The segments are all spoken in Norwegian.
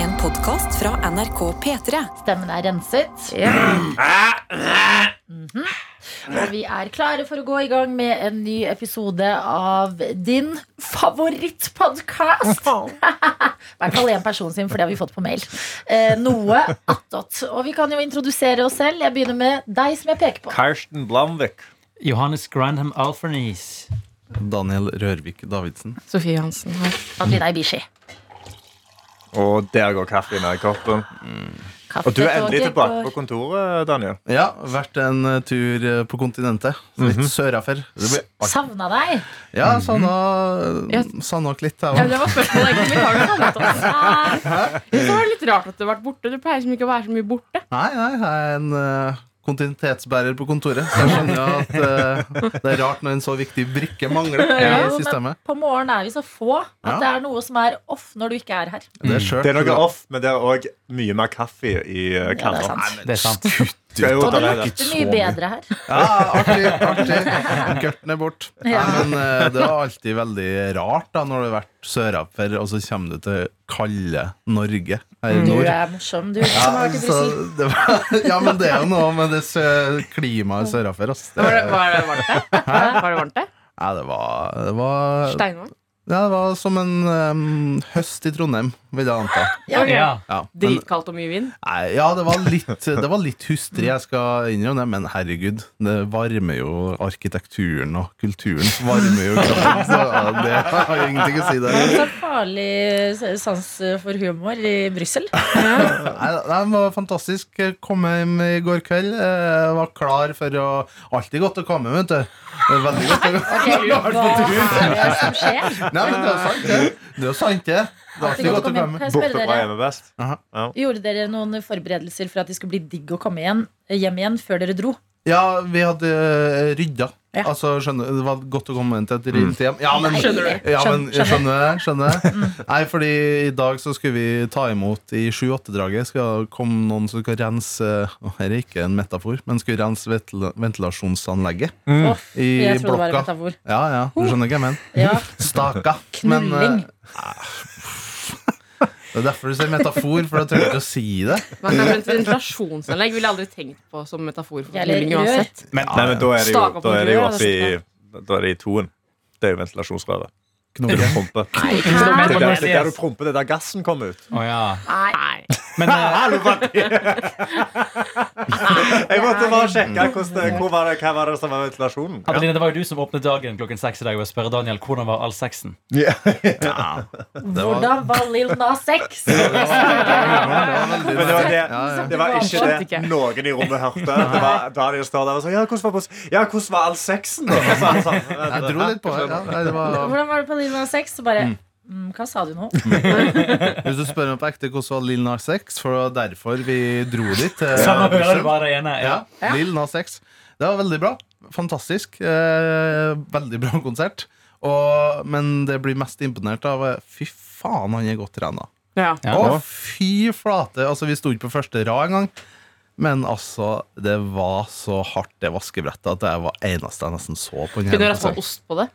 En podkast fra NRK P3. Stemmen er renset. Mhm. Og vi er klare for å gå i gang med en ny episode av din favorittpodkast. I hvert fall én person sin, for det har vi fått på mail. Eh, noe attåt. Og vi kan jo introdusere oss selv. Jeg begynner med deg, som jeg peker på. Karsten Blamvik. Johannes Grandham Alfernis. Daniel Rørvik Davidsen. Sofie Johansen her. Adelina Ibishi. Og der går kaffen i koppen. Og du er endelig tilbake på kontoret, Daniel. Ja, vært en eh, tur eh, på kontinentet. Litt Mhm. sørafor. Det blir artig. Savna deg. Ja, savna Ja. savna dere litt, jeg Ja, òg. det var spørsmålet egentlig. Beklager. det var dumt. Ah, Det var litt rart at du har vært borte. Du pleier liksom ikke å være så mye borte. Nei, nei, jeg er en eh, kontinuitetsbærer på kontoret. Så jeg skjønner jo at eh, det er rart når en så viktig brikke mangler Ja, i men- systemet. På morgenen er vi så få at Ja. det er noe som er off når du ikke er her. Det er skjørt. Mm. Det er noe off, men det er òg mye mer kaffe i eh, Ja, det er kanna. sant. Det er sant. Skal jo Og det ta det. lukter mye bedre her. Ja, artig. artig Gørten er bort. Ja. Nei, Men eh, det er alltid veldig rart da når du har vært sørafor, og så kommer du til kalde Norge Mm. her i Du nord. er morsom, du. Som har Ja, vært i så Brussel. det var, ja, men det er jo noe med det sø- klimaet sørafor. ass. Det, Var det, var det varmt der? Var det varmt der? ja, det, var, det, var, Steinvarmt? ja, det var som en em, høst i Trondheim, vil jeg anta. Ja. Ok. Ja. Ja, men, Dritkaldt og mye vind? nei, ja det, var litt, det var litt hustrig, jeg skal innrømme det, men herregud. Det varmer jo arkitekturen og kulturen. Varmer jo kroppen, så ja, det har jo ingenting å si Han der. har så farlig sans for humor i Brussel. Nei, nei, det var fantastisk. Kom hjem i går kveld. eh, Var klar for å Alltid godt å komme, vet du. Veldig godt å Ok, Hva er det som skjer? Nei, men det er sant, det. Det er sant, det. Det er Kan alltid godt å hjem? komme. Kan jeg spørre Borte fra dere, hjemme best. Gjorde dere noen forberedelser for at det skulle bli digg å komme igjen, hjem igjen før dere dro? Ja, vi hadde eh, rydda. Ja. Altså, skjønner du, Det var godt å komme inn til et ryddig hjem. Ja, men, Skjønner du? Ja, men, Skjønner- Mm. skjønner jeg. Skjønner jeg. Nei, fordi i dag så skulle vi ta imot i 7-8-draget. Skal komme noen som skal rense Å, Her er ikke en metafor, men skulle rense ventil- ventilasjonsanlegget Åh, i Mm. jeg trodde det var en blokka. metafor. Ja, ja, du skjønner hva jeg mener. Ja, Staka. Men, eh, knulling. det er derfor du sier metafor, for da trenger du ikke å si det. Man kan bruke ventilasjonsanlegg ville jeg aldri tenkt på som metafor for Jeg ler fortelling rør. uansett. Men, nei, men da er det jo, Staker på da er det jo røret, oppe altså. i Da er det i toen. Det er jo ventilasjonsrøret. Det er Knoke. jo prompe. Det Hæ? er der, det er der du promper, det er der gassen kommer ut. Å ja. Nei. Men eh, Jeg måtte bare sjekke hvordan det, hvor var det, hva var det som var ventilasjonen. Adeline, det var jo du som åpnet dagen klokken seks i dag ved å spørre Daniel hvordan var all sexen. Ja. Hvordan var Lil Nas X? Men det var, det, ja. det var ikke Skjønte det ikke. noen i rommet hørte. Det var Daniel står der og sa ja, hvordan var, pos- ja, hvordan var all sexen? da? Og så er han sånn, Jeg dro litt på det. Ja, nei, det var, Hvordan var det på Lil Nas X? Så bare mm, Hva sa du nå? hvis du spør meg på ekte hvordan var Lil Nas X, for det var derfor vi dro dit. til Samme hører Brussel. du bare det ene. Ja. Ja, Lil Nas X. Det var veldig bra. Fantastisk. Eh, veldig bra konsert. Og, men det jeg blir mest imponert av eh, Fy faen, han er godt trena. Ja. Ja. Å, fy flate! Altså, vi sto ikke på første rad engang. Men altså, det var så hardt, det vaskebrettet, at det var eneste jeg nesten så på. den Kunne du hele rett på konserten. ost på det?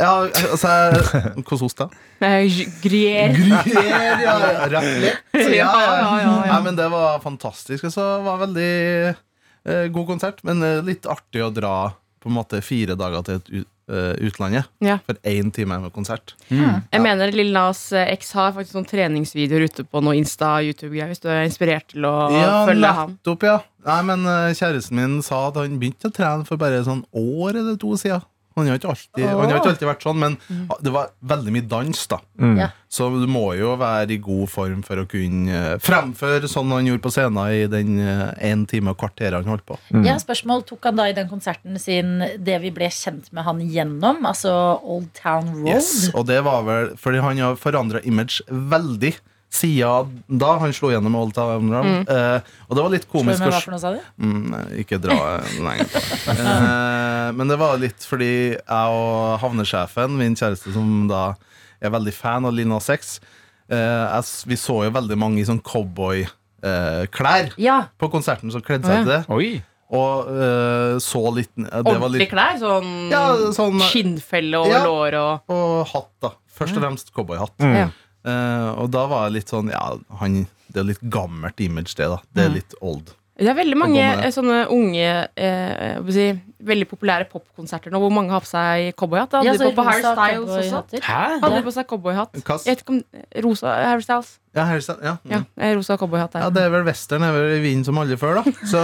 Ja, altså jeg- Hvordan ost, da? Nei, j- Gruyère. Gruyère, ja. ja, Rett litt. Ja, Ja, ja, ja, ja. Nei, men det var fantastisk. Og så var det veldig eh, god konsert, men eh, litt artig å dra på en måte fire dager til et, ut- eh, utlandet Ja. for én time med konsert. Jeg mener Lille Nas eh, X har faktisk noen treningsvideoer ute på noe Insta YouTube-greier, hvis du er inspirert til å følge han. nettopp, ja. Nei, men eh, kjæresten min sa at han begynte å trene for bare sånn år eller to siden. Han har ikke alltid, han har ikke alltid vært sånn, men ah, det var veldig mye dans, da. Ja. Så du må jo være i god form for å kunne eh, fremføre sånn han gjorde på scenen i den eh, en time og kvarteret han holdt på. Jeg har spørsmål, Tok han da i den konserten sin det vi ble kjent med han gjennom? Altså Old Town Road? Yes, og det var vel fordi han har forandra image veldig siden da han slo gjennom med Old Town Round. Eh, og det var litt Spør meg komisk å hva s- for noe, sa du? mm, Ikke dra lenger på. Eh, men det var litt fordi jeg og havnesjefen, min kjæreste som da er veldig fan av Lina 6, vi så jo veldig mange i sånn cowboyklær. Ja. på konserten som kledde seg til det, Oi. og eh, så litt det var Ordentlige litt, klær? Sånn, Ja, sånn- skinnfelle over Ja. lår og Og hatt, da. Først og fremst cowboyhatt. Ja. Eh, og da var jeg litt sånn Ja, han, det er jo litt gammelt image, det. da Det er litt old. Det er veldig mange gammel er eh, sånne unge eh, hva skal jeg si, veldig populære popkonserter nå, hvor mange har på seg cowboyhatt. Det Ja, altså, Hadde de så på, på Harry rosa Styles også. cowboyhatter. Hæ? Hadde de på seg cowboyhatt. Hva s- Jeg vet ikke om eh, rosa Harry Styles. Ja, her, sa- ja. mm. Ja, eh, rosa cowboyhatt Ja, der. det er vel western er vel i vinden som aldri før, da. Så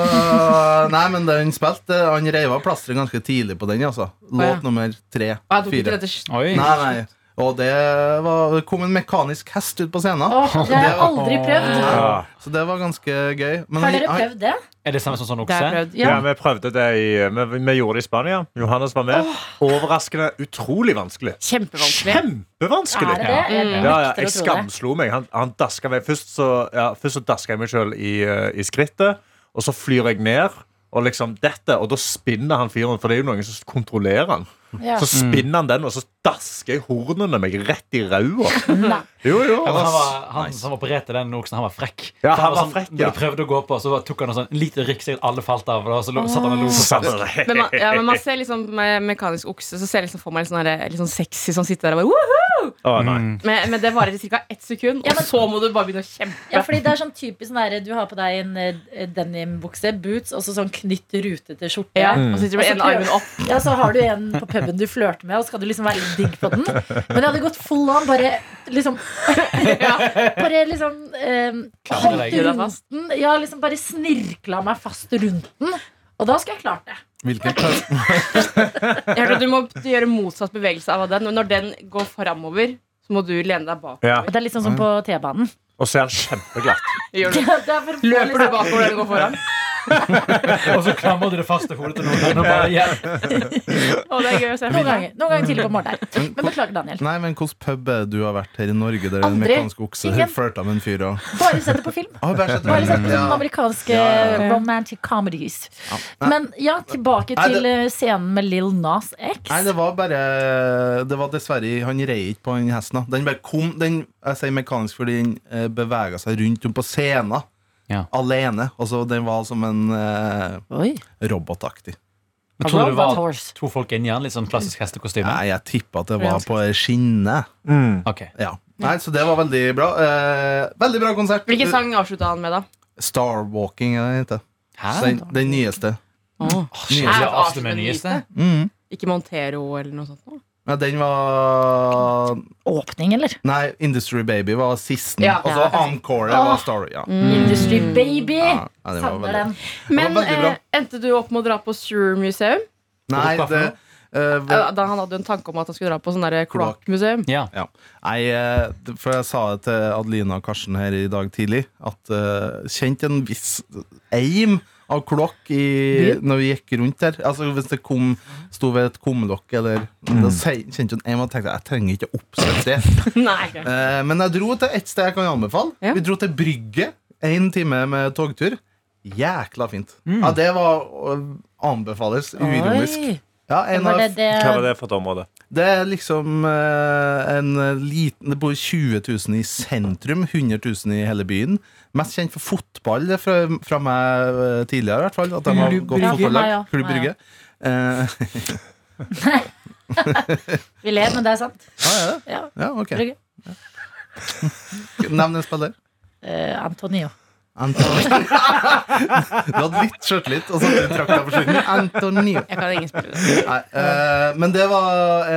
nei, men den spilte Han reiv av plasteret ganske tidlig på den, altså. Å, ja. Låt nummer tre. Ah, Jeg tok ikke Fire. dette s- Oi. Nei, nei. Og det, var, det kom en mekanisk hest ut på scenen. Åh, det har jeg aldri prøvd. Ja. Så det var ganske gøy. Men Har dere han- prøvd det? Er det samme som sånn Det har jeg okse? prøvd. Ja. Ja, vi prøvde det i Vi, vi gjorde det i Spania. Johannes var med. Overraskende utrolig vanskelig. Kjempevanskelig. Kjempevanskelig! Er det det? Jeg Mm. Ja, ja, nekter jeg å tro det. skamslo meg. Han, han daska meg først, så, ja, først så daska jeg meg sjøl i, eh, i skrittet. Og så flyr jeg ned, og liksom dette, og da spinner han fyren. For det er jo noen som kontrollerer han. Ja. Så spinner han den, og så dasker jeg hornene meg rett i ræva. Jo, jo. Ja, men Han, ass. var, han som opererte den oksen, han var frekk. Ja, For han var sånn, frekk, Når ja. du prøvde å gå på, så tok han en sånn lite rykk, så alle falt av. Og da, så lo- satt han og lo. Så på satt seg. han der. Men man, ja, men man ser liksom med mekanisk okse Så ser jeg liksom for meg litt sånn, der, litt sånn sexy som sitter der og bare «Woohoo!» Å, nei. men, men det varer i ca. ett sekund, Ja, men- og så må du bare begynne å kjempe. Ja, fordi det er sånn typisk sånn der, Du har på deg en eh, denimbukse, boots og så sånn knytt rutete skjorte. Ja, og så sitter du Og med så en armen prøver- opp. Ja, så har du en på puben du flørter med, og så skal du liksom være litt digg på den. Men jeg hadde gått full on, bare liksom Bare liksom eh, Klamre deg. holdt rundt den. Ja, liksom bare snirkla meg fast rundt den. Og da skal jeg klart det. Hvilken pla- Jeg hørte at du må gjøre motsatt bevegelse av den. Når den går framover, så må du lene deg bak. Ja. Og det er litt sånn som på T-banen. Og så er han kjempeglatt. Gjør Det du. er for- Løper du bakover når den går foran? Og så klamrer du det fast til hodet til noen. Og bare, ja. Å, det er gøy å se. Noen ganger, noen ganger tidlig på morgenen. der. Men beklager, Daniel. Nei, men hvilken pub er det du har vært her i Norge der en Aldri. mekanisk okse Ingen. flørta med en fyr og Bare sett det på film. Å, bare sett Bare sett på sånne Ja. amerikanske Ja, ja, ja. romantic comedies. Nei. Men ja, tilbake Nei, til eh, scenen med Lil Nas X. Nei, det var bare Det var dessverre Han rei ikke på den hesten. da. Den bare kom den, Jeg sier mekanisk fordi den eh, bevega seg rundt om på scenen. Ja. Alene. Altså, den var som en eh, Oi. robotaktig. Men tror du det var Horse. to folk inni han? Litt sånn klassisk hestekostyme? Nei, jeg tippa at det var på skinne. Ok. Ja. Nei, så det var veldig bra. Eh, veldig bra konsert. Hvilken sang avslutta han med, da? Starwalking er det heter. Så Hæ? Den, den nyeste. Shit, Her det er er Astrid med Astrid nyeste. Mm. Ikke Montero eller noe sånt? nå? Ja, den var Åpning, eller? Nei, Industry Baby var sisten. Ja. Mm. Og så Encore var Star... Ja. Industry Baby. Mm. Ja, ja, den var Savner veldig- den. Men var veldig bra. eh, endte du opp med å dra på Shure Museum? Nei, Hvorfor? det eh, Eh, hvor- Da han hadde jo en tanke om at han skulle dra på sånn der Kloakk. kloakkmuseum. Ja. ja. Nei, eh, det- for jeg sa det til Adelina og Karsten her i dag tidlig, at eh, kjente en viss eim av kloakk i, når vi gikk rundt der. Altså Hvis det kom, sto ved et kumlokk, eller Da se- kjente hun eim og tenkte jeg trenger ikke å oppsøke det. Nei, ikke. Eh, men jeg dro til et sted jeg kan anbefale. Ja. Vi dro til Brygge. Én time med togtur. Jækla fint. Ja, det var øh, anbefales uironisk. Mm. Oi. Ja, en Var av, det det? Hva var det for et område? det er liksom eh, en liten Det bor 20 000 i sentrum, 100 000 i hele byen. Mest kjent for fotball det er fra, fra meg eh, tidligere, i hvert fall. At de har Klubb gått Brygge. fotballag. Ja, ja. Klubb Ja, ja. Brygge. Eh, Vi ler, men det er sant. ja, er det? Ja. ja, ok. Brygge. Ja. Nevn en spiller. Eh, Antonio. Antonio. du hadde litt skjørtlitt, og så hadde du trakta på slutten. Antonio. Jeg kan ingen spille det. Nei, eh, men det var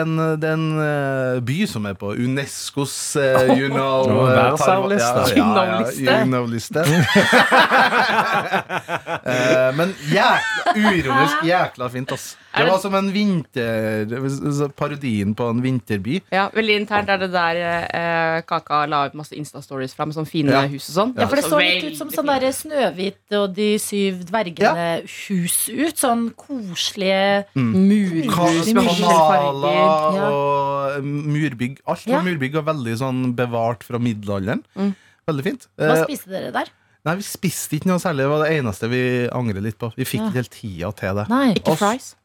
en, det er en eh, by som er på Unescos eh, you know Oh, eh, verdensarvliste. tar- ja, ja, You know-liste. ja, you know-liste. Eh, men jækla uironisk jækla fint, ass. Det var som en vinter parodien på en vinterby. Ja, Veldig internt er det der eh, Kaka la ut masse Insta-stories fra med sånne fine Ja. hus og sånn. Ja, for det så litt veldig ut som fint. sånn der Snøhvit og de syv dvergene-hus ut. Sånn koselige Mm. Mur, Ka- hus med forskjellige farger. Kanaler Ja. og eh, murbygg. Alt var Ja. murbygg og veldig sånn bevart fra middelalderen. Mm. Veldig fint. Hva Eh, spiste dere der? nei, Vi spiste ikke noe særlig. Det var det eneste vi angrer litt på. Vi fikk ikke helt tida til det. Nei. Ikke Oss. fries.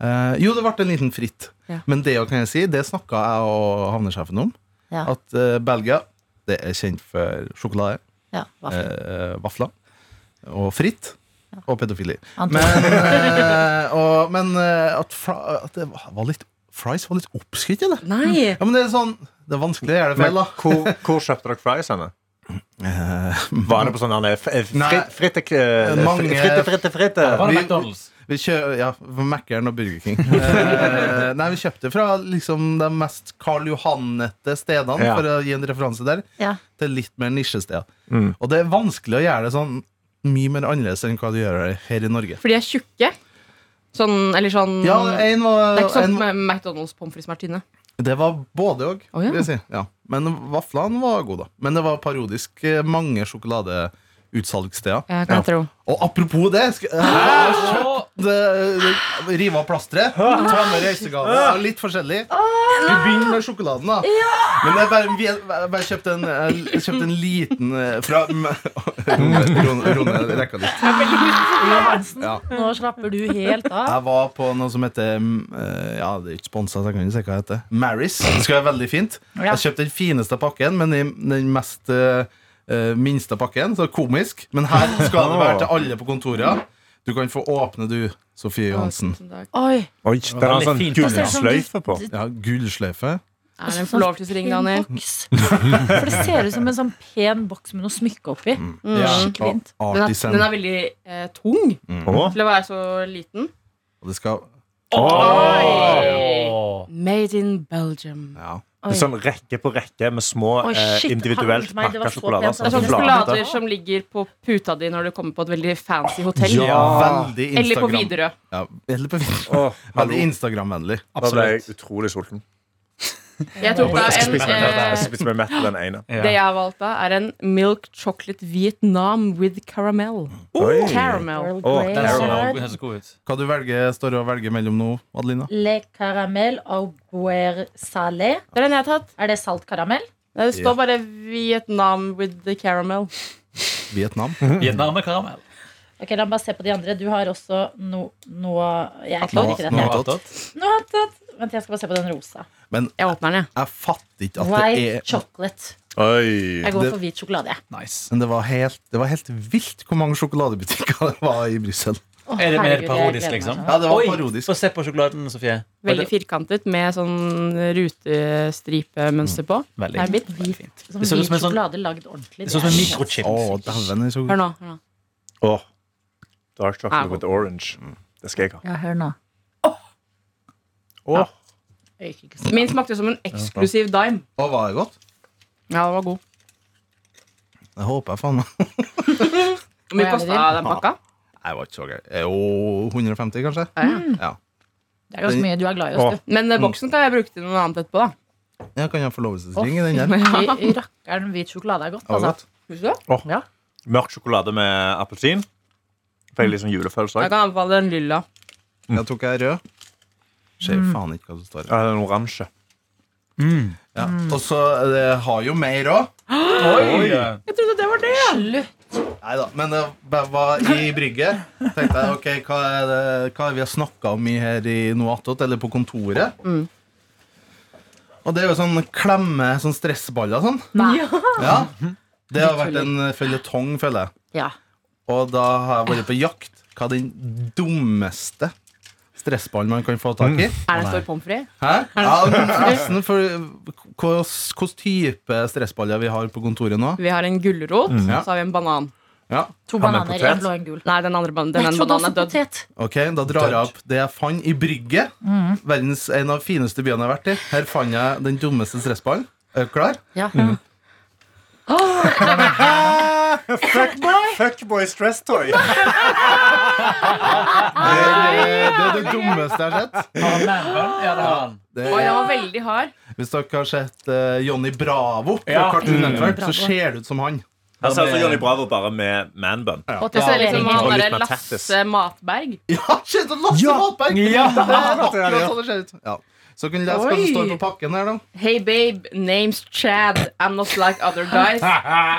Eh, jo, det ble en liten fritt. Ja. Men det kan jeg si, det snakka jeg og havnesjefen om. Ja. At eh, Belgia det er kjent for sjokolade, Ja, hva for- eh, vafler og fritt. Og pedofili. Antonio. Men, eh, og, men eh, at, fra, at det var litt Fries var litt oppskrytt i det. Nei! Ja, men det er sånn Det er vanskelig å gjøre det Men feil, da. hvor, hvor kjøpte dere fries henne? Var det på sånn han er f- eh, Nei. fritt, fritte, eh, Mange- fritte, fritte, fritte Var det Vi- McDonald's? Vi kjø ja, Mækkern og Burger King. Eh, nei, vi kjøpte fra liksom de mest Karl Johan-ete stedene, Ja. for å gi en referanse der, Ja. til litt mer nisjesteder. Mm. Og det er vanskelig å gjøre det sånn mye mer annerledes enn hva du gjør her i Norge. For de er tjukke. Sånn, eller sånn Ja, en var, Det er ikke sånn en, med McDonald's pommes frites martine. det var både òg, Å, ja. vil jeg si. Ja. Men vaflene var gode, da. Men det var parodisk eh, mange sjokoladeutsalgssteder. Ja, kan jeg tro. Og apropos det skal, det, det, Rive av plasteret. Ta med reisegave. og Litt forskjellig. Vi begynner med sjokoladen, da. Men jeg bare, vi- jeg bare kjøpte, en, jeg kjøpte en liten eh, fra Rone, Rone, Rone rekka litt. Ja. Nå slapper du helt av. Jeg var på noe som heter mm, eh, Ja, det er ikke sponsa, så jeg kan ikke si hva det heter. Maris. Det skal være veldig fint. Ja. Jeg kjøpte den fineste pakken, men i den mest eh, eh, minste pakken. Så komisk. Men her skal det være til alle på kontoret. Du kan få åpne, du, Sofie Johansen. Tusen takk. Oi. Oi, den har en sånn Veldig fint. gullsløyfe på Ja, gullsløyfe. Er det en forlovelsesring, Daniel? sånn Boks. For det ser ut som en sånn pen boks med noe smykke oppi. Mm. Ja. Skikkelig fint. Og Den, er, Artisan. den er veldig eh, tung Å, til å være så liten. Og det skal Åh. Made in Belgium. Ja. det er sånn rekke på rekke med små Oi, eh, shit, individuelt herregud, meg, det var pakka så sjokolader. pent, Det som er sånne altså. flater. sjokolader som ligger på puta di når du kommer på et veldig fancy hotell. Veldig Instagram. Eller på Widerøe. Ja, eller på Widerøe. Åh, hallo. Veldig Instagram-vennlig. Da ble jeg Absolutt. utrolig sulten. Jeg tok da Jeg skal en spise meg mett- jeg eh, skal spise meg mett av den ene. Det Ja. jeg har valgt da, er en Milk Chocolate Vietnam with caramel. Oi. Caramel. Earl Åh, Grey Den så, Lard, den så god ut. Hva du velger, står og velger mellom nå, Adelina? Le caramel au guer salé. Det er den jeg har tatt. Er det salt karamell? Det Ja. står bare Vietnam with the caramel. Vietnam? Vietnam med karamell. Ok, La meg bare se på de andre. Du har også no, noe Jeg klarer ikke Nå- dette. nå- Noe annet. Vent, jeg skal bare se på den rosa. Men Jeg åpner den, jeg. jeg fatter ikke at det White er chocolate. Oi. Jeg går Det- for hvit sjokolade. jeg. Nice. Men det var helt, det var helt vilt hvor mange sjokoladebutikker det var i Brussel. Å, Er det mer herregud, jeg parodisk, gleder meg liksom? sånn. Ja, det var Oi, parodisk. Få se på sjokoladen, Sofie. Veldig firkantet med sånn rutestripemønster på. Mm. Veldig. Her er mitt. Veldig fint. Sånn Det ser ut hvit som en sånn sjokolade lagd ordentlig. det ser ut som en er- mikrochip. Å, dæven. det er så- Hør nå. hør nå. Åh, Dark Au. chocolate with orange. Mm. Det skal jeg ha. Ja, hør nå. Åh, Jeg gikk ikke så- Min smakte som en eksklusiv dime. Å, var det godt? Ja, den var god. Det håper jeg faen meg. Hvor Hva mye er det kosta den pakka? Nei, det var ikke så gøy. Jo, 150 kanskje? Mm. Ja. Det er ganske mye du er glad i oss, du. Men eh, boksen kan jeg bruke til noe annet etterpå, da. Jeg kan ha forlovelsesring i den der. Det I- i Rakkeren hvit sjokolade er godt. var Altså. godt. Husker du det? Mørk sjokolade med appelsin. Fikk litt sånn julefølelse. også. Jeg kan anbefale den lilla. Jeg tok jeg rød. Ser faen ikke hva som står her. Ja, den oransje. Ja. Og så eh, det har jo mer òg. Oi! Jeg trodde det var det! Nei da. Men det bare var i brygget. Tenkte jeg, ok, hva er det, hva er det vi har snakka om i her i Noatot, eller på kontoret? Og det er jo sånn klemme, sånn stressballer og sånn. Nei. Ja. Det har vært en føljetong, føler jeg. Ja. Og da har jeg vært på jakt. Hva er den dummeste stressballen man kan få tak i? Er den stor pommes frites? Hæ? Ja, nesten for hvilken type stressballer vi har på kontoret nå. Vi har en gulrot, Mm. Ja. så har vi en banan. Ja, To Har med bananer, potet? en blå og en gul. Nei, den andre ban- den Jeg ene trodde bananen også er død. potet. ok, Da drar jeg opp det jeg fant i Brygge. Verdens En av de fineste byene jeg har vært i. Her fant jeg den dummeste stressballen. Er du klar? Ja. Fuckboy stress toy. Det er det, er det dummeste jeg har sett. Har han manbun? Ja, det har han. Det Oi, er, den var veldig hard. hvis dere har sett eh, Johnny Bravo, på Ja. Cartoon Network, Bravo. så ser det ut som han. Her ser altså Johnny Bravo bare med manbun. Og Det ser ut som serveringen. han Og litt derre med tattis. Lasse Matberg. Ja, shit, og Lasse Ja. Malberg! Ja. Det er akkurat sånn det ser ut. Ja. Så kan du lese hva som Oi. står på pakken her, da. Hey babe, name's Chad. I'm not like other guys.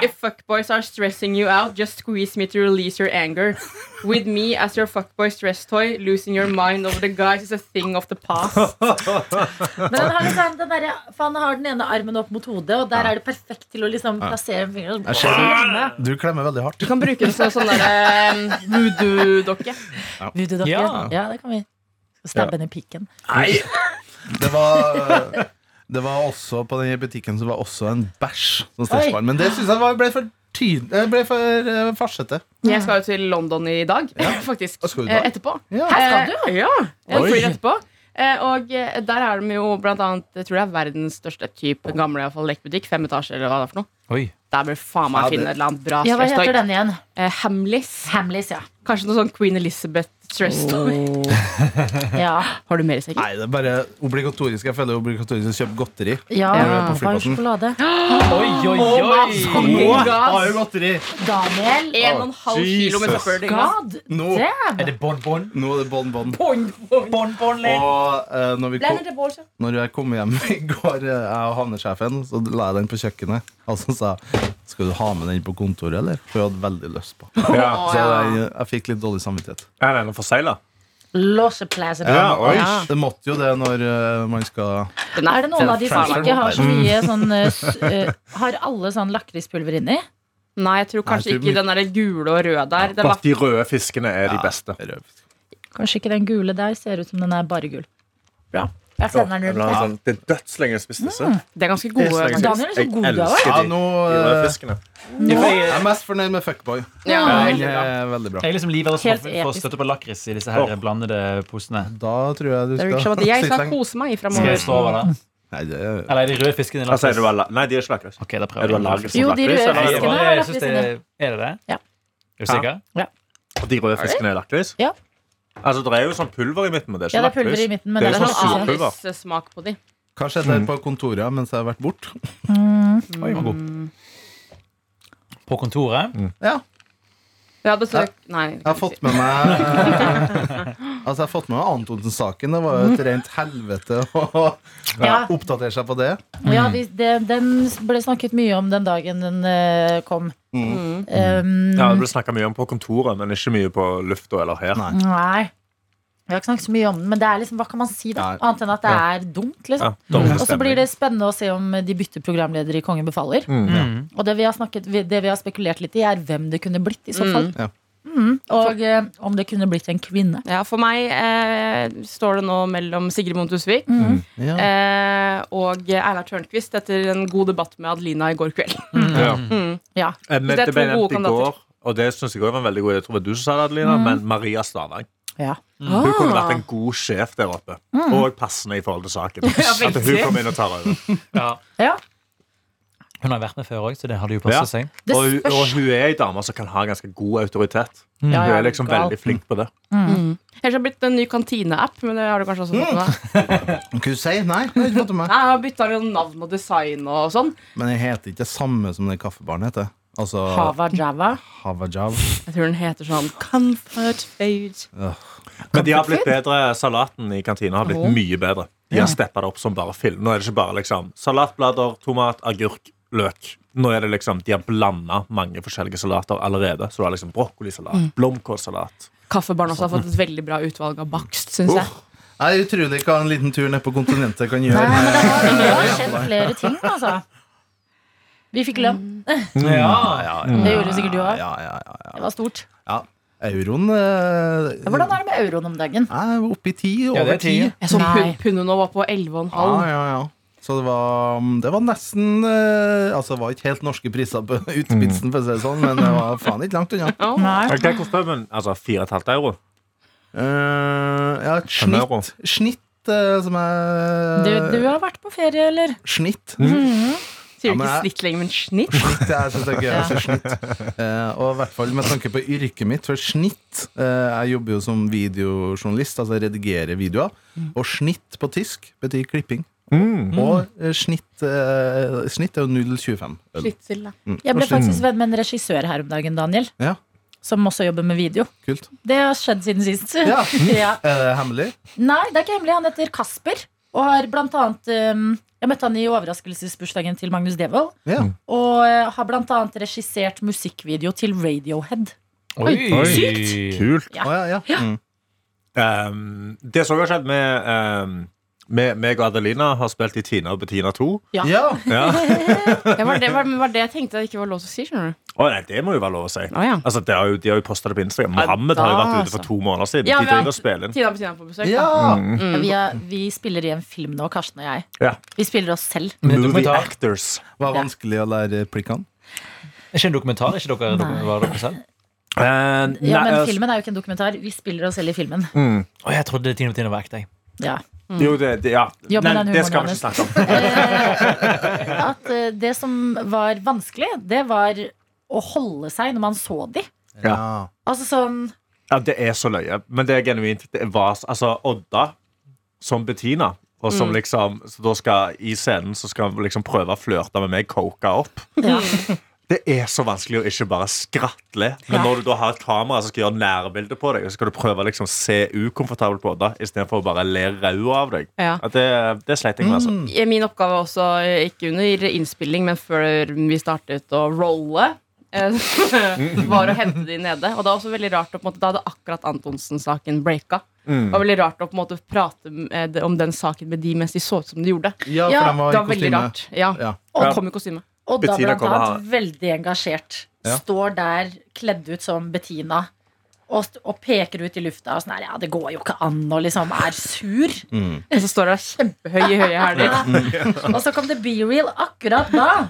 If fuckboys are stressing you out, just squeeze me to release your anger. With me as your fuckboy stress toy, losing your mind over the guys is a thing of the past. Men den har, liksom, den der, for han har den ene armen opp mot hodet, og der er det perfekt til å liksom plassere en finger. Jeg ser Klemme. Du klemmer veldig hardt. Du kan bruke den som sånn derre voodoo-dokke. Voodoo-dokke. Ja. Ja, det kan vi. Skal stabbe henne i pikken. Nei. Det var eh, Det var også På den butikken så var også en bæsj som stretchbar. Men det syns jeg var, ble for tydelig Det ble for eh, farsete. Jeg skal jo til London i dag, faktisk. Hva skal du Eh, da? Etterpå. Ja. Her skal du? Eh, Ja, jeg Oi. flyr etterpå. Eh, Og eh, der er de jo blant annet Jeg tror det er verdens største type gamle i hvert fall, lekbutikk. Fem etasjer, eller hva det er for noe. Oi. Der bør faen meg Ja, det- finne et eller annet bra Ja, hva stress heter toy. den igjen? Eh, Hamleys. Hamleys, ja. Kanskje noe sånn Queen Elizabeth stress toy. Ja, Har du mer, sikkert? Nei, det er bare obligatorisk. Jeg føler det er obligatorisk å kjøpe godteri. ja Når du er på varm flyplassen. sjokolade. Oi, oi, oi. Har jo godteri! Daniel En og en halv kilo med Jesus. søppeldynga. God Nå. damn! Er det bonbon? Nå er det bonbon. Bonbon, Og eh, når, vi kom, når jeg kom hjem i går, eh, jeg og havnesjefen, så la jeg den på kjøkkenet. Og så sa jeg skal du ha med den på kontoret, eller? For jeg hadde veldig lyst på. Ja. Så jeg, jeg fikk litt dårlig samvittighet. Er den forsegla? Losse placer. Ja, oi. Det måtte jo det når eh, man skal Den Er det noen av de som Transfer. ikke har så mye sånn eh, s- eh, Har alle sånn lakrispulver inni? Nei, jeg tror kanskje Nei, jeg tror ikke den der gule og røde der. Den Bare var at de røde fiskene er de beste. røve. Kanskje ikke den gule der ser ut som den er bare gul. Bra. Jeg sender den Jeg vil ha rundt. en sånn- Det er dødslenge jeg har spist disse. det er ganske Det er så gode. lenge siden. Daniel er så Jeg god, altså. du har vært. elsker Ja, de- nå de røde eh, fiskene. Jeg er mest fornøyd med Fuckboy. Ja, Den veldig bra. er veldig bra. Jeg er liksom livredd Helt for for å episk. støtte på lakris i disse her blandede posene. Da tror jeg du Det virker som skal sånn at jeg sitte skal lenge. kose meg Skal jeg stå framover. over det? Nei, det er Eller er de røde fiskene i Hva sier lakris? du? Ella? Nei, de er ikke lakris. Ok, da Er prøver du jeg. allergisk Jo, mot de lakris? røde eller er det fiskene. bare- er Jeg synes det lakris Er det det? Ja. Er du sikker? De røde fiskene er lakris? Ja. Altså, det er jo sånn pulver i midten, men det er Ja, det ikke er pulver i lakris. midten, men Det det er er jo Sånn sånn sånn lakris. suppe. anissmak på de. Hva skjedde der på kontoret mens jeg har vært borte? Oi, den var god. Mm. På kontoret? Ja, Jeg har besøk Nei. jeg det kan har jeg fått ikke si. med meg Altså, jeg har fått med meg Antonsen-saken. Det var jo et rent helvete å Ja. oppdatere seg på det. Ja, vi, det, den ble snakket mye om den dagen den eh, kom. Um, Ja, det ble snakka mye om på kontoret, men ikke mye på lufta eller her. Nei. Nei. Vi har ikke snakket så mye om den, men det er liksom, hva kan man si da? Nei. Annet enn at det er dumt, Ja, liksom. dårlig Mm. Og så stemning. blir det spennende å se om de bytter programleder i Kongen befaler. Mm. Og det vi, har snakket, det vi har spekulert litt i, er hvem det kunne blitt i så Mm. fall. Ja. Mm, Og eh, om det kunne blitt en kvinne. Ja, for meg eh, står det nå mellom Sigrid Montusvik Ja. eh, og Einar Tørnquist etter en god debatt med Adelina i går kveld. Ja. Mm. Ja. Jeg Så det er mente to ble nevnt gode i går, og det synes jeg også var en veldig god idé. Jeg tror det var du som sa Mm. det, Adelina, men Maria Stavang. ja. Hun kunne Ah. vært en god sjef der oppe. Mm. Og passende i forhold til saken. At hun kom inn og tar over. Ja. Ja. Hun har vært med før òg, så det hadde jo Ja. passa seg. Det Og, hun- spørs. Mm. og hun er ei dame som kan ha ganske god autoritet. Ja, Hun ja, er liksom gal. veldig flink på det. Jeg har blitt en ny kantineapp, men det har du kanskje også fått med Kunne deg. du si nei? det har jeg ikke fått med meg. Nei, Jeg har bytta navn og design og sånn. Men den heter ikke det samme som den kaffebaren heter. Altså Hava Java. Havajav. Jeg tror den heter sånn Comfort Food. Men de har blitt bedre, salaten i kantina har blitt mye bedre. De har steppa det opp som bare film. Nå er det ikke bare liksom salatblader, tomat, agurk, løk. Nå er det liksom, De har blanda mange forskjellige salater allerede. Så du har liksom brokkolisalat, blomkålsalat Kaffebaren også har fått et veldig bra utvalg av bakst, syns jeg. Det er utrolig hva en liten tur ned på kontinentet kan gjøre. Nei, men det har, det har skjedd flere ting, altså. Vi fikk lønn. Mm. ja, Det gjorde sikkert du òg. Mm. ja, ja, ja, ja. Det var stort. ja. Euroen eh, Hvordan er det med euroen om dagen? er oppe i ti. Ja, Over det er ti. ti. Jeg så Nei. pund- pundet nå var på 11,5. Ja, ja, ja. Så det var, mm, det var nesten eh, Altså, det var ikke helt norske priser på utspitsen, for å si det sånn, men det var faen ikke langt unna. Ja. Nei. Hva koster puben? Altså 4,5 euro? Eh, ja, et En euro. snitt, snitt eh, som er Du, du har vært på ferie, eller? Snitt. Sier Ja, du men ikke jeg- snitt lenger, men snitt? Snitt, jeg synes det er gøy å si snitt. Eh, og i hvert fall med tanke på yrket mitt, for snitt eh, Jeg jobber jo som videojournalist, altså jeg redigerer videoer. Og snitt på tysk betyr klipping. Mm. Og eh, snitt, eh, snitt er jo 0,25 øl. Slitsil, da. Jeg ble faktisk venn med en regissør her om dagen, Daniel. Ja, Som også jobber med video. kult. Det har skjedd siden sist. Ja. Ja. Er det hemmelig? Nei, det er ikke hemmelig. Han heter Kasper. Og har blant annet um, Jeg møtte han i overraskelsesbursdagen til Magnus Devold. Ja. Og uh, har blant annet regissert musikkvideo til Radiohead. Kult. Å, ja, ja. Mm. Ehm, Um, det som også har skjedd med um, Me- Meg og Adelina har spilt i Tina og Bettina 2. Ja. Ja. Ja. Det var det, var, men var det jeg tenkte det ikke var lov til å si, skjønner du. Å, nei, det må jo være lov å si. Å, ja. Altså, det har jo, De har jo posta det på Instagram. Mohammed har jo vært ute for to måneder siden. Ja, de vi har- driver og spiller inn. Tina på Tina på besøk. ja. da. Ja, vi, er, vi spiller i en film nå, Karsten og jeg. Ja. Vi spiller oss selv. Men det er Movie dokumentar. actors. Var vanskelig å lære plikkene. Er ikke en dokumentar? Er ikke dere, dere, var dere selv? Eh, Ja, nei, men altså- Mm. filmen er jo ikke en dokumentar. Vi spiller oss selv i filmen. Å, jeg trodde Tina Bettina var ekte. jeg. Ja. Jo, det, det, ja. Jobb med Nei, den det humoren, skal vi Anders. ikke snakke om. At eh, det som var vanskelig, det var å holde seg når man så de. Ja. Altså sånn Ja, det er så løye. Men det er genuint. Det var, altså, Odda som Bettina, og som liksom så da skal, I scenen så skal hun liksom prøve å flørte med meg, coke opp. ja. Det er så vanskelig å ikke bare skratle. Ja. Men når du da har et kamera som skal gjøre nærbilde på deg, og så skal du prøve å liksom se ukomfortabel på Odda istedenfor å bare le rau av deg, Ja. Ja, det, det sleit jeg med. altså Eh, Min oppgave var også, eh, ikke under innspilling, men før vi startet å rolle, eh, var å hente de nede. Og det var også veldig rart å, på en måte, Da hadde akkurat Antonsen-saken breaka. Det var veldig rart å på en måte prate med, om den saken med de mens de så ut som de gjorde. ja, Ja, for de var Det i var veldig kostyme. rart. Ja. Ja. Og kom i kostyme. Og da Bettina blant kommer annet veldig engasjert. Ja. Står der kledd ut som Bettina og, st- og peker ut i lufta og sånn her Ja, det går jo ikke an, og liksom er sur. Og så står det kjempehøye høye hæler. Og så kom det Be Real akkurat da.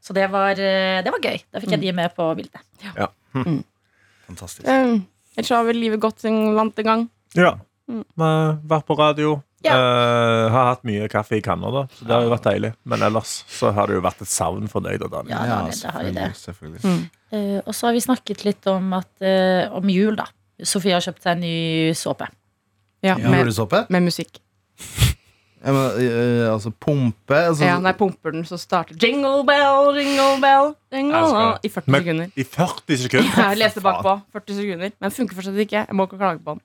Så det var, eh, det var gøy. Da fikk jeg de med på bildet. Fantastisk. Eh, Ellers har vel livet gått en vant en gang. Ja. Men, vært på radio. Ja. Eh, har hatt mye kaffe i Canada, så det har jo vært deilig. Men ellers så har det jo vært et savn for deg, da, Daniel. Ja, Daniel, det har jo det. selvfølgelig. selvfølgelig. Eh, og så har vi snakket litt om, at, eh, om jul, da. Sofie har kjøpt seg en ny såpe. Ja, med, Julesåpe? med musikk. Ja, men, eh, altså pumpe? Altså, Ja, når jeg pumper den, så starter jingle bell, jingle bell, jingle bell i 40 Men- sekunder. I 40 sekunder! Jeg leste bakpå. 40 sekunder. Men den funker fortsatt ikke. Jeg må ikke klage på den.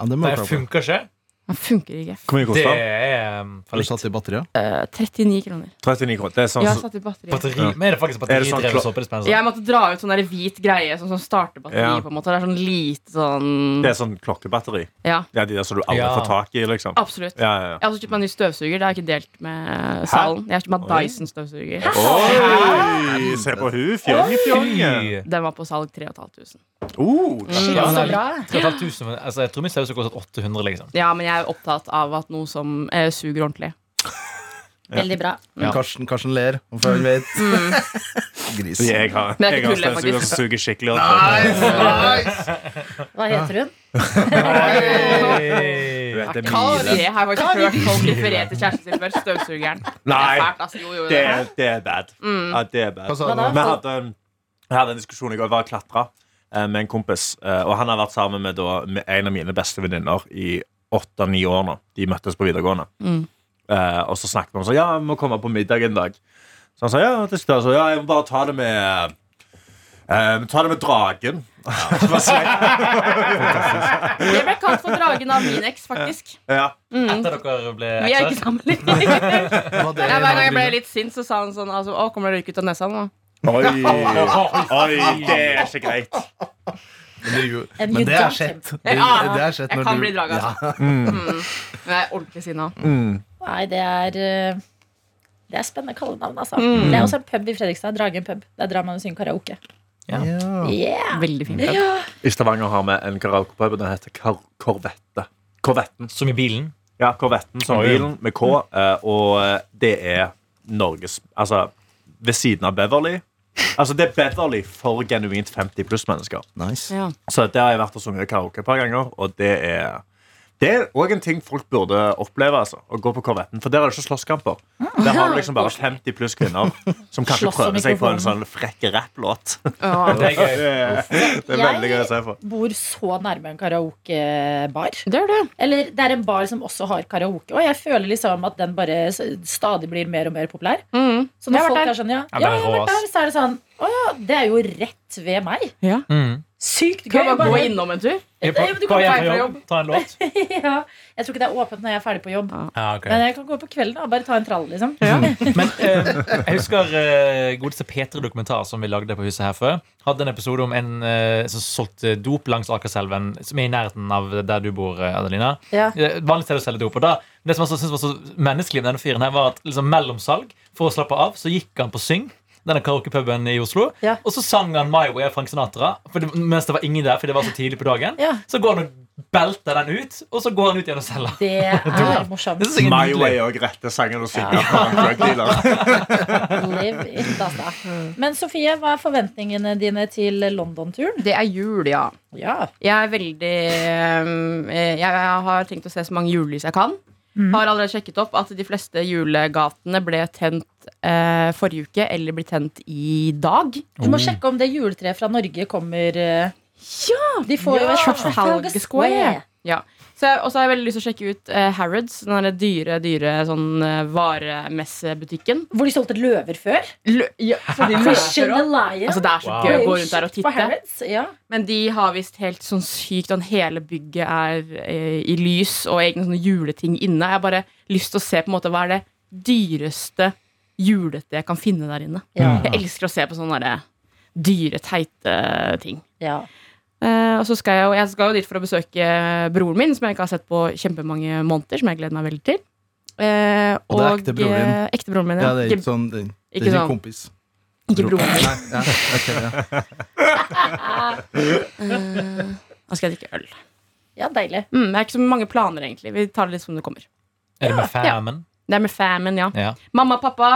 ja, det må jeg Det klare på. funker ikke. Den funker ikke. Hvor mye Det koster den? er um, Har du fallitt. satt i batteriet? Eh, 39 kroner. 39 kroner. Det er sånn Jeg har som satt i batteri. Batteri, men er det faktisk Er det sånn batteridrevet klo- såpedispenser? Jeg måtte dra ut sånn der hvit greie som sånn starter batteriet. Ja. på en måte Det er sånn lite sånn det er sånn klokkebatteri. Ja, Ja, De der som du aldri Ja. får tak i, liksom. absolutt. Ja, ja, ja. Jeg har også kjøpt meg en ny støvsuger. Det har jeg ikke delt med salen. Jeg har kjøpt meg Oi. Dyson-støvsuger. Oi! Se på hun, fjonge-fjonge. Fy. Den var på salg 3500. Oh, Mm. Shit, Ja, så nei. bra. 3500, men, altså, jeg tror min saus har kostet 800, liksom. Ja, men jeg er opptatt av at noe som eh, suger ordentlig. Veldig bra. Ja. Karsten, Karsten ler, for han vet. Gris. jeg har, Men jeg jeg har kunne faktisk- støvsuger som suger skikkelig. Hva heter hun? Du vet, det er Kari mile. jeg har faktisk hørt folk referere til kjæresten sin før. Støvsugeren. Det er Nei, fælt, Mm. altså. Jo, jo, det det. er, det er bad. Ja, det er bad. Hva sa Hva du? da? Vi hadde, jeg hadde en diskusjon i går. Jeg var og klatra eh, med en kompis. eh, Og han har vært sammen med, da, med en av mine beste venninner i åtte-ni år nå. De møttes på videregående. Eh, og så snakket vi om sånn, ja, vi må komme på middag en dag. Så han sa ja, det skal jeg." Så, ja jeg må bare ta det med eh, Ta det med dragen. Så bare sa jeg, Jeg ble kalt for dragen av min eks, faktisk. ja. Etter dere ble Vi er ikke ekser. sammen lenger. Var det- Ja, Hver gang jeg ble litt sint, så sa han sånn altså, Å, kommer det røyk ut av nesa nå? Oi, oi, det er ikke greit. Men det er jo- And Men you det er dumped skjedd. him. Det, Ja, det er skjedd Jeg når kan du- bli drag, Ja. altså. Mm. Men jeg er ordentlig sinna. Nei, det er eh, Det er spennende kallenavn, altså. Det er også en pub i Fredrikstad. Dragen pub. Der drar man og synger karaoke. Yeah! Veldig fin prat. I Stavanger har vi en karaokepub. Den heter Kar Korvette. Korvetten. Som i bilen. Ja, Korvetten som Oi. bilen med K. eh, Og eh, det er Norges Altså, ved siden av Beverly. Altså, det er Beverly for genuint 50 pluss-mennesker. Nice. Ja. Så der har jeg vært og sunget karaoke et par ganger, og det er det er òg en ting folk burde oppleve. altså Å gå på Korvetten. For der er det ikke slåsskamper. Der har du liksom bare 50 pluss kvinner som kanskje Slåss om prøver seg på en mikrofonen. sånn frekk rapplåt. Å, Det er gøy. Det er det er veldig gøy å se på. Bor så nærme en karaokebar. Det er det. Eller det er en bar som også har karaoke. Og jeg føler liksom at den bare s- stadig blir mer og mer populær. Mm. Så når Jeg har vært folk der. er sånn ja, Ja, ja, det er jeg har rå, vært der, så er det sånn Å ja, det er jo rett ved meg. Ja. Mm. Sykt gøy. Kan vi bare gå Bare- innom en tur? Jeg Ja, men du kan er bare på ta jobb, ta en låt. ja. Jeg tror ikke det er åpent når jeg er ferdig på jobb. Ja, ok. Men jeg kan gå på kvelden og bare ta en trall, liksom. Men eh, jeg husker eh, godeste P3 Dokumentar som vi lagde på huset her før. Hadde en episode om en eh, som solgte dop langs Akerselven, som er i nærheten av der du bor, eh, Adelina. Ja. Eh, Vanlig sted å selge dop. Og da, det som jeg syntes var så menneskelig med denne fyren, her var at liksom, mellom salg, for å slappe av, så gikk han på syng. Denne karaokepuben i Oslo. Ja. Og så sang han My Way av Frank Sinatra. For det, mens det var ingen der, for det var så tidlig på dagen. Ja. Så går han og belter den ut, og så går han ut igjen og selger. Det er morsomt. Det synes jeg er My nydelig. Way og rette sangen og synge for en drug dealer. Live it, altså. Men Sofie, hva er forventningene dine til London-turen? Det er jul, ja. Ja. Jeg er veldig ehm, eh, Jeg har tenkt å se så mange julelys jeg kan. Har allerede sjekket opp at de fleste julegatene ble tent eh, forrige uke eller blir tent i dag. Du må sjekke om det juletreet fra Norge kommer eh, De får jo Ja, et Trafalgar Square. Ja. Så jeg, og så har jeg veldig lyst til å sjekke ut eh, Harrods, den derre dyre, dyre sånn eh, varemessebutikken. Hvor de solgte løver før. Lø- ja, så de Christian løper opp. Lion. altså, det er så Wow. gøy å gå rundt der og På titte. Harrods, ja. Men de har visst helt sånn sykt sånn Hele bygget er eh, i lys og egne sånne juleting inne. Jeg har bare lyst til å se på en måte hva er det dyreste julete jeg kan finne der inne. Ja. Jeg elsker å se på sånne derre dyre, teite ting. ja. Eh, og så skal jeg, jo- jeg skal jo dit for å besøke broren min, som jeg ikke har sett på kjempemange måneder. Som jeg gleder meg veldig til. Eh, Og det er ekte broren din? eh, ekte broren min, ja. Ja, det er ikke, ikke sånn den. Det ikke er sånn. ikke kompis. ikke broren min. Nei, ja, ok, ja. Nå skal jeg drikke øl. ja, deilig. Mm, det er ikke så mange planer, egentlig. Vi tar det litt som det kommer. Er det med famen? Det er med famen, ja. Ja. Mamma, pappa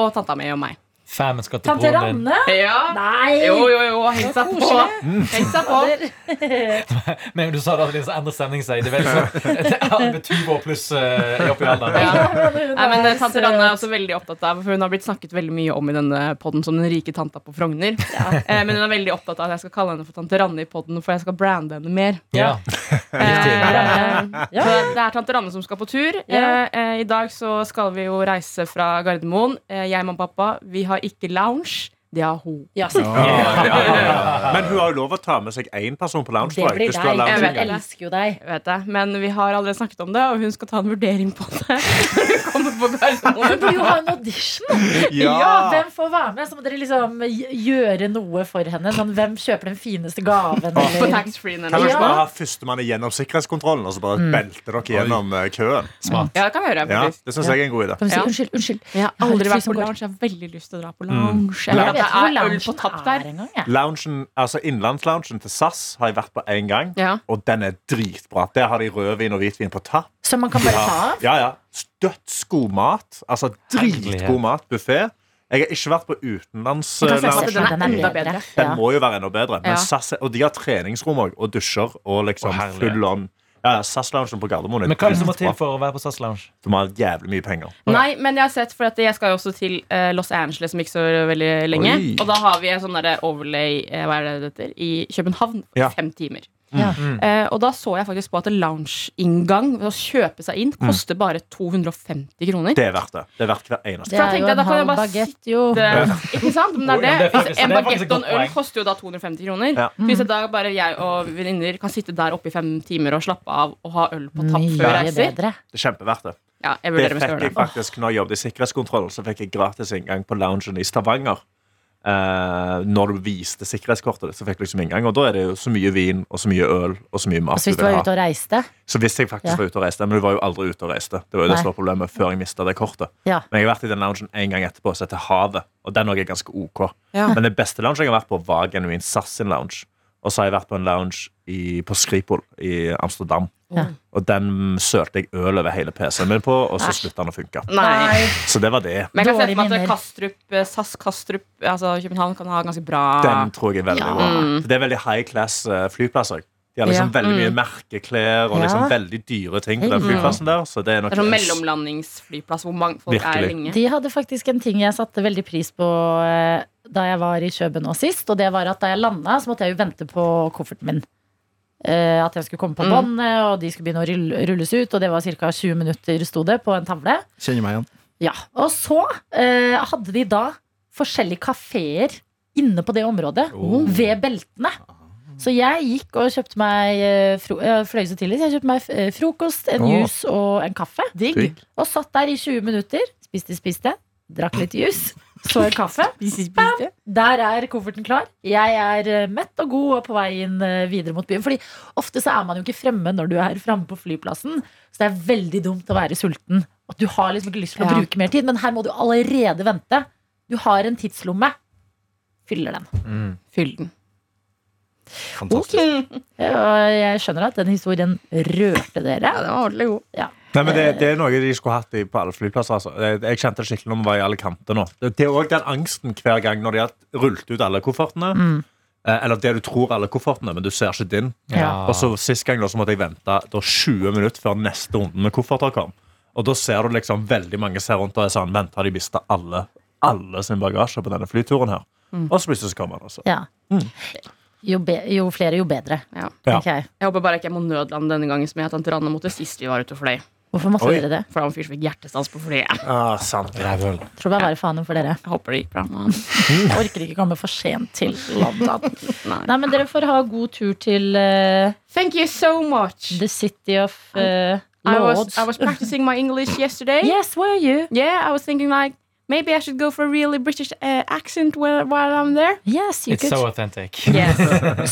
og tanta mi og meg. Famen skal til Tante broren din. Ranne? Ja. Nei! Jo, jo, jo. Hils Så deg på. koselig. Hils deg på. Men du sa det at det endrer stemningen seg. Det er veldig sånn det er alle med 20 år pluss eh, er oppe i alderen. Ja. Hun Nei, men er eh, Tante søt. Ranne er også veldig opptatt av For hun har blitt snakket veldig mye om i denne podden som den rike tanta på Frogner. Eh, Men hun er veldig opptatt av at jeg skal kalle henne for Tante Ranne i podden, for jeg skal brande henne mer. Ja. Eh, Ja. så det er tante Ranne som skal på tur. Ja. Eh, eh, I dag så skal vi jo reise fra Gardermoen. Eh, jeg, mamma og pappa, vi har ikke lounge. Det har hun. Ja, altså, selvfølgelig. Men hun har jo lov å ta med seg én person på det loungestrike. blir deg. lounge- Hun elsker jo deg. Vet jeg. Men vi har allerede snakket om det, og hun skal ta en vurdering på det. Når hun kommer på Hun Gardermoen burde jo ha en audition! Ja. Hvem får være med? Så må dere liksom gjøre noe for henne. Sånn, hvem kjøper den fineste gaven? På Eller? taxfree-en Kan Ja. Mm. dere hennes. ikke bare ha førstemann gjennom sikkerhetskontrollen og så bare belte dere gjennom eh, køen? Ja, det kan vi gjøre. Ja, faktisk Det syns jeg er en god idé. Kan vi si Ja. unnskyld, unnskyld. Jeg har Jeg aldri har vært ikke på lyst lounge. Jeg har veldig lyst til å dra Mm. på lounge. Jeg vet Jeg vet ikke hvor at det er øl loungen på tapp er der. engang, jeg. Loungen, altså Innenlandsloungen til SAS har jeg vært på én gang, Ja. og den er dritbra. Der har de rødvin og hvitvin på tapp. Så man kan bare ta av? Ja, ja. Dødsgod mat. Altså dritgod Herlighet. mat. Buffé. Jeg har ikke vært på Jeg kan se- altså, utenlandsloungen. den er enda Den Ja. må jo være enda bedre. Men Ja. SAS er, og de har treningsrom òg, og dusjer og liksom Å, herlighet. full on. Ja, ja, SAS-loungen på Gardermoen er Men hva er det som må til dritbra. for å være på SAS Lounge? Du må ha jævlig mye penger. Nei, men jeg har sett, for at jeg skal jo også til eh, Los Angeles om ikke så veldig lenge. Oi. Og da har vi en sånn derre overlay eh, hva er det det heter, i København Ja. fem timer. Ja. Mm. Eh, og da så jeg faktisk på at en lounge-inngang ved å kjøpe seg Mm. inn koster bare 250 kroner. Det er verdt det. Det er verdt hver eneste. Det For da er jo tenkte jeg, en da kan halv jeg bare bagett, jo. Det, ikke sant? Men Oi, det ja, er det er det. Hvis faktisk- en det er faktisk bagett og et en godt øl poeng. koster jo da 250 kroner. Ja. Så Hvis jeg da bare jeg og venninner kan sitte der oppe i fem timer og slappe av og ha øl på tapp Mye før jeg reiser bedre. Det er kjempeverdt det. Ja, jeg Det vurderer om jeg skal fikk jeg gjøre det. faktisk når jeg jobbet i sikkerhetskontrollen. Så fikk jeg gratis inngang på loungen i Stavanger. Eh, når du viste sikkerhetskortet ditt, så fikk du liksom inngang. Og da er det jo så mye vin og så mye øl og så mye mat Altså, hvis du du var vil ha. ute og reiste. Så hvis jeg faktisk Ja. var ute og reiste, men du var jo aldri ute og reiste. Det var jo det som var problemet før jeg mistet det kortet. Ja. Men jeg har vært i den loungen en gang etterpå, som heter Havet. Og den også er ganske OK. Ja. Men det beste loungen jeg har vært på, var genuin SAS sin lounge. Og så har jeg vært på en lounge i, på Skripol i Amsterdam. Ja. Og den sølte jeg øl over hele PC-en min på, og så slutta den å funke. Nei. Så det var det. Men jeg kan se Dårlige for meg minner. at Kastrup, eh, SAS Kastrup, altså København, kan ha ganske bra Den tror jeg er veldig Ja. bra. For Det er veldig high class eh, flyplasser. De har liksom Ja. veldig mye merkeklær og liksom Ja. veldig dyre ting på den flyplassen der. Så det er nok Det er sånn mellomlandingsflyplass hvor mange folk Virkelig. er lenge. De hadde faktisk en ting jeg satte veldig pris på eh, da jeg var i Kjøben nå sist. Og det var at da jeg landa, så måtte jeg jo vente på kofferten min. Eh, at jeg skulle komme på båndet, og de skulle begynne å rull- rulles ut. Og det var ca. 20 minutter, sto det, på en tavle. Kjenner meg igjen. Ja, og så eh, hadde Oh. de da forskjellige kaféer inne på det området ved beltene. Så jeg gikk og kjøpte meg eh, fro Jeg fløy så tidlig, så jeg kjøpte meg eh, frokost, en Åh. juice og en kaffe. Digg. Og satt der i 20 minutter. Spiste, spiste. Drakk litt juice. Så en kaffe. Bam! Der er kofferten klar. Jeg er eh, mett og god og på vei inn eh, videre mot byen. Fordi ofte så er man jo ikke fremme når du er framme på flyplassen. Så det er veldig dumt å være sulten. At du har liksom ikke lyst til å Ja. bruke mer tid. Men her må du allerede vente. Du har en tidslomme. Fyller den. Fyll den. Fantastisk. Og jeg skjønner at den historien rørte dere. Ja, den var ordentlig god. Nei, men det, det er noe de skulle hatt i, på alle flyplasser. Altså. Jeg, jeg kjente det skikkelig når vi var i alle kanter nå. Det, det er òg den angsten hver gang når de har rullet ut alle koffertene. Eh, Eller det du tror alle koffertene, men du ser ikke din. Ja. Og så Sist gang da, så måtte jeg vente da 20 minutter før neste runde med kofferter kom. Og da ser du liksom veldig mange ser rundt og er sånn Vent, har de mista alle, alle sin bagasje på denne flyturen her? Og så plutselig så kommer han, altså. Ja. Mm. Jo, be jo flere, jo bedre. Ja. tenker jeg. Jeg håper bare ikke jeg må nødlande denne gangen som jeg og tante Ranne måtte sist vi var ute og fløy. Hvorfor måtte Oi. dere det? For det var en fyr som fikk hjertestans på flyet. Ah, sant. Tror det var bare faen for dere. Jeg håper det gikk bra med han. Jeg orker ikke komme for sent til London. Nei. Nei, men dere får ha god tur til eh, Thank you so much. The City of eh, I Lords. was, I was practicing my English yesterday. Yes, where are you? Yeah, I was thinking like maybe I should go for a really British uh, accent while, while I'm there. Yes, you It's so could. authentic. Yes.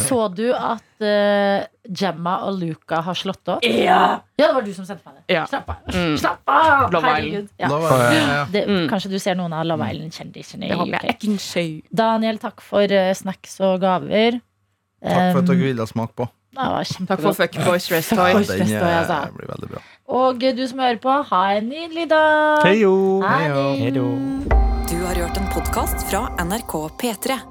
Så du at eh, Gemma og Luca har slått opp? yeah. Ja, det var du som sendte meg det. Ja. Slapp av. Mm. Slapp av! Love Herregud. Ja. Da var jeg, ja. Det, Mm. Kanskje du ser noen av Love Island-kjendisene Det i håper jeg. UK. Jeg kan si. Daniel, takk for eh, snacks og gaver. Takk for at Um, dere ville smake på. det var Takk for kjempegodt. fuckboys rest toy. Oi, det Den står jeg, altså. eh, blir veldig bra. Og eh, du som hører på, ha en nydelig dag! Hei jo! Ha Heio. det. Du har hørt en podkast fra NRK P3.